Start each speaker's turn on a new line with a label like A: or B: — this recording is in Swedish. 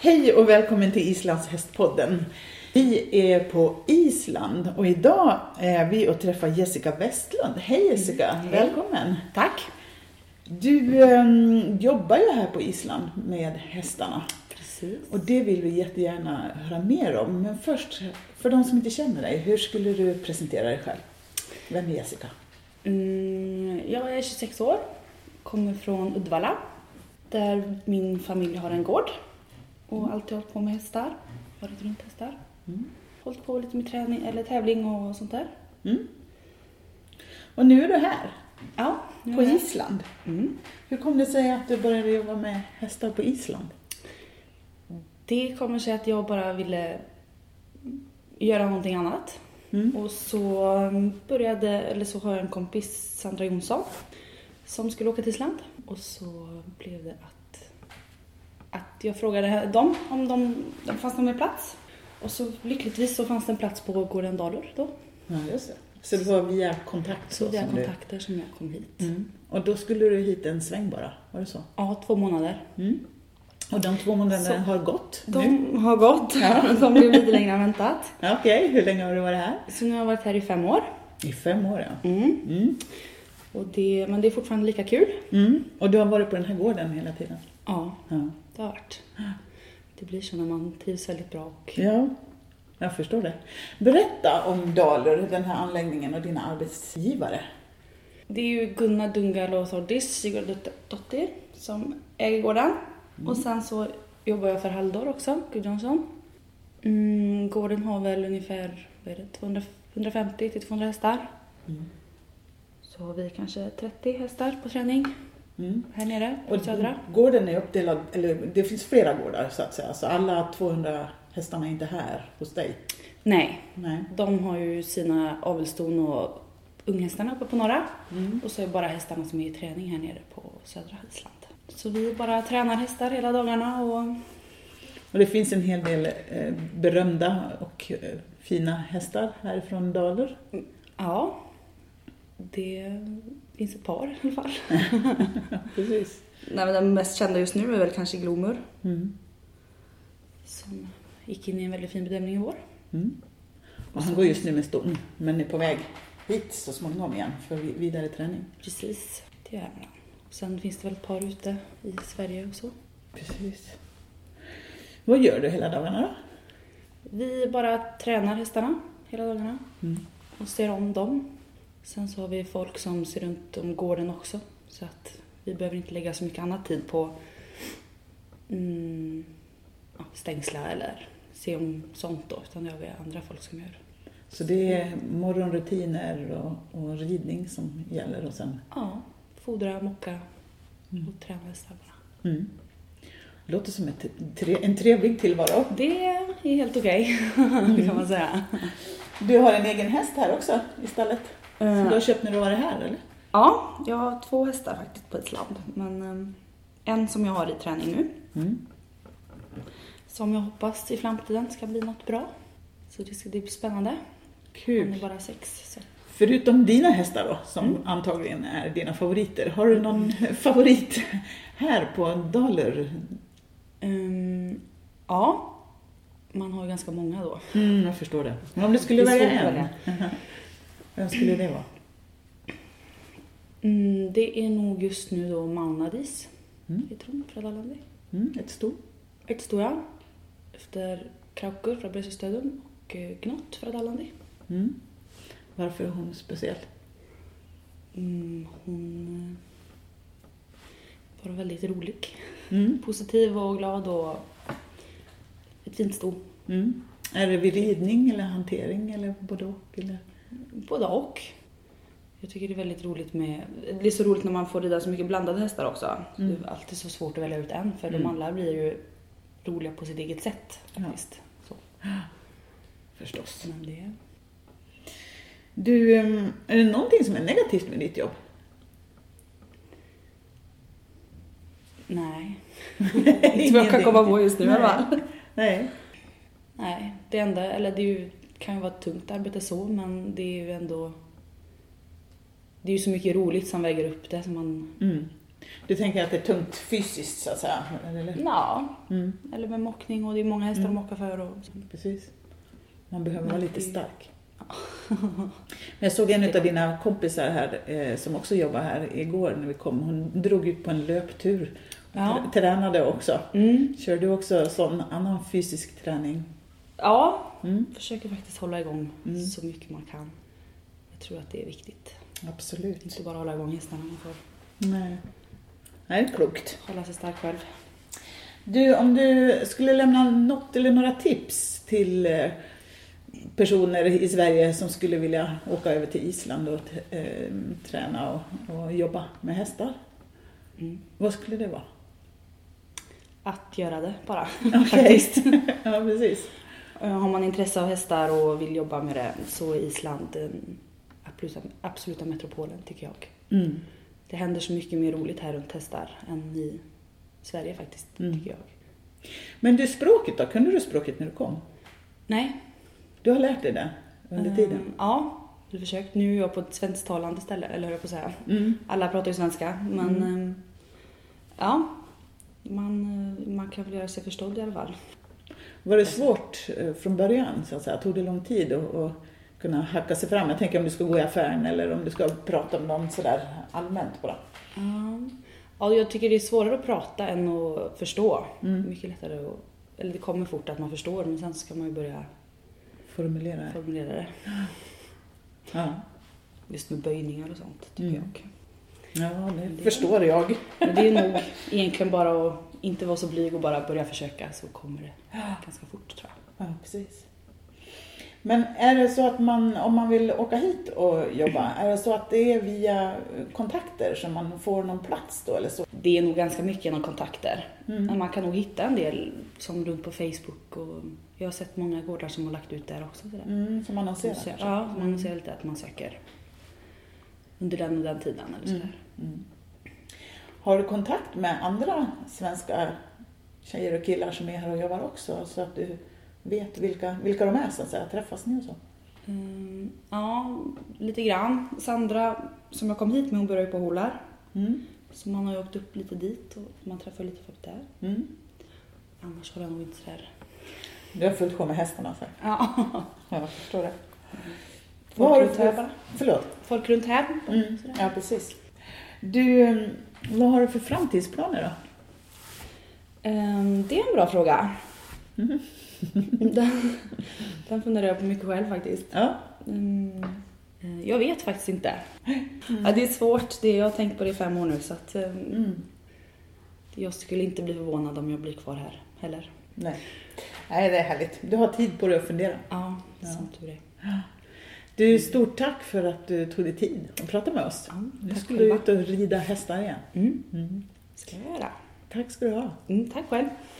A: Hej och välkommen till Islands hästpodden. Vi är på Island och idag är vi och träffar Jessica Westlund. Hej Jessica, välkommen.
B: Mm, Tack.
A: Du ehm, jobbar ju här på Island med hästarna
B: Precis.
A: och det vill vi jättegärna höra mer om. Men först, för de som inte känner dig, hur skulle du presentera dig själv? Vem är Jessica?
B: Mm, jag är 26 år, kommer från Uddevalla där min familj har en gård och alltid hållit på med hästar, varit runt hästar. Hållit på lite med träning eller tävling och sånt där.
A: Mm. Och nu är du här,
B: Ja, nu
A: på
B: är jag-
A: Island.
B: Mm.
A: Hur kom det sig att du började jobba med hästar på Island?
B: Det kommer sig att jag bara ville göra någonting annat. Och så började, eller så har jag en kompis, Sandra Jonsson, som skulle åka till Island. Och så blev det att, att jag frågade dem om de, om fanns det någon mer plats. Och så lyckligtvis så fanns det en plats på gården Dalur då.
A: Ja, just det. Så det var via kontakt?
B: Så via
A: som
B: kontakter som jag kom hit.
A: Du... Mm. Och då skulle du hit en sväng bara, var det så?
B: Ja, två månader.
A: Mm. Och de två månaderna
B: Så-
A: har gått nu?
B: De har gått. De blev lite längre än väntat.
A: Ja, Okej, hur länge har du varit här?
B: Så nu har jag varit här i fem år.
A: I fem år, ja.
B: Mm.
A: Mm.
B: Och det, men det är fortfarande lika kul.
A: Mm. Och du har varit på den här gården hela tiden?
B: Ja,
A: Ja.
B: det har varit. Det blir så när man trivs väldigt bra och
A: ja, jag förstår det. Berätta om Dalur, den här anläggningen och dina arbetsgivare.
B: Det är ju Gunnar Dungalo Thordis Sigurdardottir som äger gården. Och sen så jobbar jag för Halldor också, Gudjonsson. Mm, gården har väl ungefär vad är det, 200 150 till 200 hästar. Så har vi kanske 30 hästar på träning
A: Mm.
B: här nere på
A: Och
B: Södra.
A: gården är uppdelad, eller det finns flera gårdar så att säga, så alla 200 hästarna är inte här hos dig?
B: Nej,
A: Nej.
B: de har ju sina avelston och unghästarna uppe på norra. Och så är bara hästarna som är i träning här nere på södra Island. Så vi bara tränar hästar hela dagarna och
A: Och det finns en hel del eh, berömda och eh, fina hästar härifrån Daler.
B: ja, det finns ett par i alla fall.
A: Precis.
B: Nej, men den mest kända just nu är väl kanske Glomur
A: Mm.
B: som gick in i en väldigt fin bedömning i vår.
A: Mm. Och han går just nu med ston, men är på väg hit så småningom igen för vi- vidare träning.
B: Precis, det är man. Sen finns det väl ett par ute i Sverige och så.
A: Precis. Vad gör du hela dagarna då?
B: Vi bara tränar hästarna hela dagarna
A: Mm.
B: och ser om dem. Sen så har vi folk som ser runt om gården också så att vi behöver inte lägga så mycket annan tid på mm, ja, stängsla eller se om sånt då utan det har vi andra folk som gör.
A: Så det är morgonrutiner och, och ridning som gäller och sen...
B: Ja, fodra, mocka och träna hästarna.
A: Mm. Låter som ett, tre, en trevlig tillvaro.
B: Det är helt okej kan man säga.
A: Du har en egen häst här också i stallet. Som du har köpt när du var här eller?
B: Mm. Eh, Ja, jag har två hästar faktiskt på ett land men eh, en som jag har i träning nu
A: Mm.
B: som jag hoppas i framtiden ska bli något bra. Så det ska det bli spännande. Han är
A: Kul.
B: bara sex. Så.
A: Förutom dina hästar då, som
B: Mm.
A: antagligen är dina favoriter, har du någon favorit här på Daler?
B: Ehm, ja, man har ju ganska många då.
A: Mm, jag förstår det. Men om du skulle
B: Det är
A: välja
B: svårt att
A: en, vem skulle det vara?
B: Mm, det är nog just nu då Maunadis.
A: Mm.
B: heter hon, Fredalandi.
A: Mm, ett stort?
B: Ett stora efter Kraukur från Brösöstöden och eh, Gnott från Dallandi.
A: Mm. Varför är hon speciell?
B: Mm, hon eh, var väldigt rolig.
A: Mm.
B: Positiv och glad och ett fint sto.
A: Mm. Är det vid ridning eller hantering eller både och? Eller?
B: Både och. Jag tycker det är väldigt roligt med, det är så roligt när man får rida så mycket blandade hästar också. Det är alltid så svårt att välja ut en för de alla blir ju roliga på sitt eget sätt faktiskt. Så.
A: Förstås.
B: Men det,
A: Du, ehm, är det någonting som är negativt med ditt jobb?
B: nej. Inte vad jag kan komma på just nu i alla fall.
A: Nej. Nej.
B: Nej, det enda, eller det är ju, kan ju vara ett tungt arbete så, men det är ju ändå... Det är ju så mycket roligt som väger upp det som man...
A: Mm. Du tänker att det är tungt fysiskt så att säga? Eller?
B: Ja,
A: Mm.
B: eller med mockning och det är många hästar de mockar för och...
A: Precis. Man behöver vara
B: Men
A: lite
B: det-
A: stark. Men jag såg en av dina kompisar här eh, som också jobbar här igår när vi kom. Hon drog ut på en löptur. och
B: Ja.
A: tr- Tränade också.
B: Mm.
A: Kör du också sån annan fysisk träning?
B: Ja,
A: Mm.
B: försöker faktiskt hålla igång så mycket man kan. Jag tror att det är viktigt.
A: Absolut.
B: Inte bara hålla igång hästarna, man får
A: Nej. Nej, klokt.
B: hålla sig stark själv.
A: Du, om du skulle lämna något eller några tips till eh, personer i Sverige som skulle vilja åka över till Island och eh, träna och, och jobba med hästar.
B: Mm.
A: Vad skulle det vara?
B: Att göra det bara,
A: Okej.
B: faktiskt.
A: ja, precis.
B: Eh, Har man intresse av hästar och vill jobba med det så är Island den absoluta, absoluta metropolen tycker jag.
A: Mm.
B: Det händer så mycket mer roligt här runt hästar än i Sverige faktiskt,
A: Mm.
B: tycker jag.
A: Men du, språket då? Kunde du språket när du kom?
B: Nej.
A: Du har lärt dig det under
B: eh,
A: tiden?
B: ja, jag har försökt. Nu är jag på ett svensktalande ställe, eller hur jag på att säga.
A: Mm.
B: Alla pratar ju svenska, men eh, ja. Man, eh, man kan väl göra sig förstådd i alla fall.
A: Var det svårt eh, från början? Så att säga? Tog det lång tid att, att kunna hacka sig fram? Jag tänker om du ska gå i affären eller om du ska prata med någon sådär allmänt bara.
B: Ja. Ja, jag tycker det är svårare att prata än att förstå. Mycket lättare att, eller det kommer fort att man förstår, men sen ska man ju börja
A: Formulera det.
B: formulera det.
A: Ja.
B: Just med böjningar och sånt, tycker
A: Mm.
B: jag.
A: ja, det förstår jag.
B: Men det är nog egentligen bara att inte vara så blyg och bara börja försöka så kommer det ganska fort tror jag.
A: Ja, precis. Men är det så att man, om man vill åka hit och jobba, är det så att det är via kontakter som man får någon plats då eller så? Mm.
B: Det är nog ganska mycket genom kontakter. Men man kan nog hitta en del som runt på Facebook och jag har sett många gårdar som har lagt ut där också. Sådär.
A: Mm, som man Mm.
B: Så
A: annonserar
B: sö-
A: kanske?
B: ja, man ser lite att man söker under den och den tiden eller
A: Mm.
B: sådär.
A: Har du kontakt med andra svenska tjejer och killar som är här och jobbar också? Så att du vet vilka, vilka de är så att säga? Träffas ni och så?
B: Mm, ja, lite grann. Sandra som jag kom hit med hon börjar ju på Holar.
A: Mm.
B: Så man har ju åkt upp lite dit och man träffar lite folk där.
A: Mm.
B: Annars har jag nog inte sådär
A: Du har fullt sjå med hästarna så.
B: Ja.
A: Ja, jag förstår det.
B: Mm.
A: Vad
B: Folk
A: har du
B: runt här.
A: för... Förlåt?
B: Folk runt här.
A: Mm.
B: Sådär.
A: Ja, precis. Du, mm, vad har du för framtidsplaner då?
B: Ehm, det är en bra fråga.
A: Mm.
B: den, den funderar jag på mycket själv faktiskt.
A: Ja.
B: Mm, eh, jag vet faktiskt inte. Ja, det är svårt. Det, jag har tänkt på det i fem år nu så att, ehm,
A: Mm.
B: jag skulle inte bli förvånad om jag blir kvar här heller.
A: Nej. Nej, det är härligt. Du har tid på dig att fundera.
B: Ja, som tur är. Mm.
A: Du, stort tack för att du tog dig tid att prata med oss.
B: Ja,
A: nu
B: tack
A: ska du
B: själva.
A: ut och rida hästar igen.
B: Mm. Ska jag göra.
A: Tack ska du ha.
B: Mm, tack själv.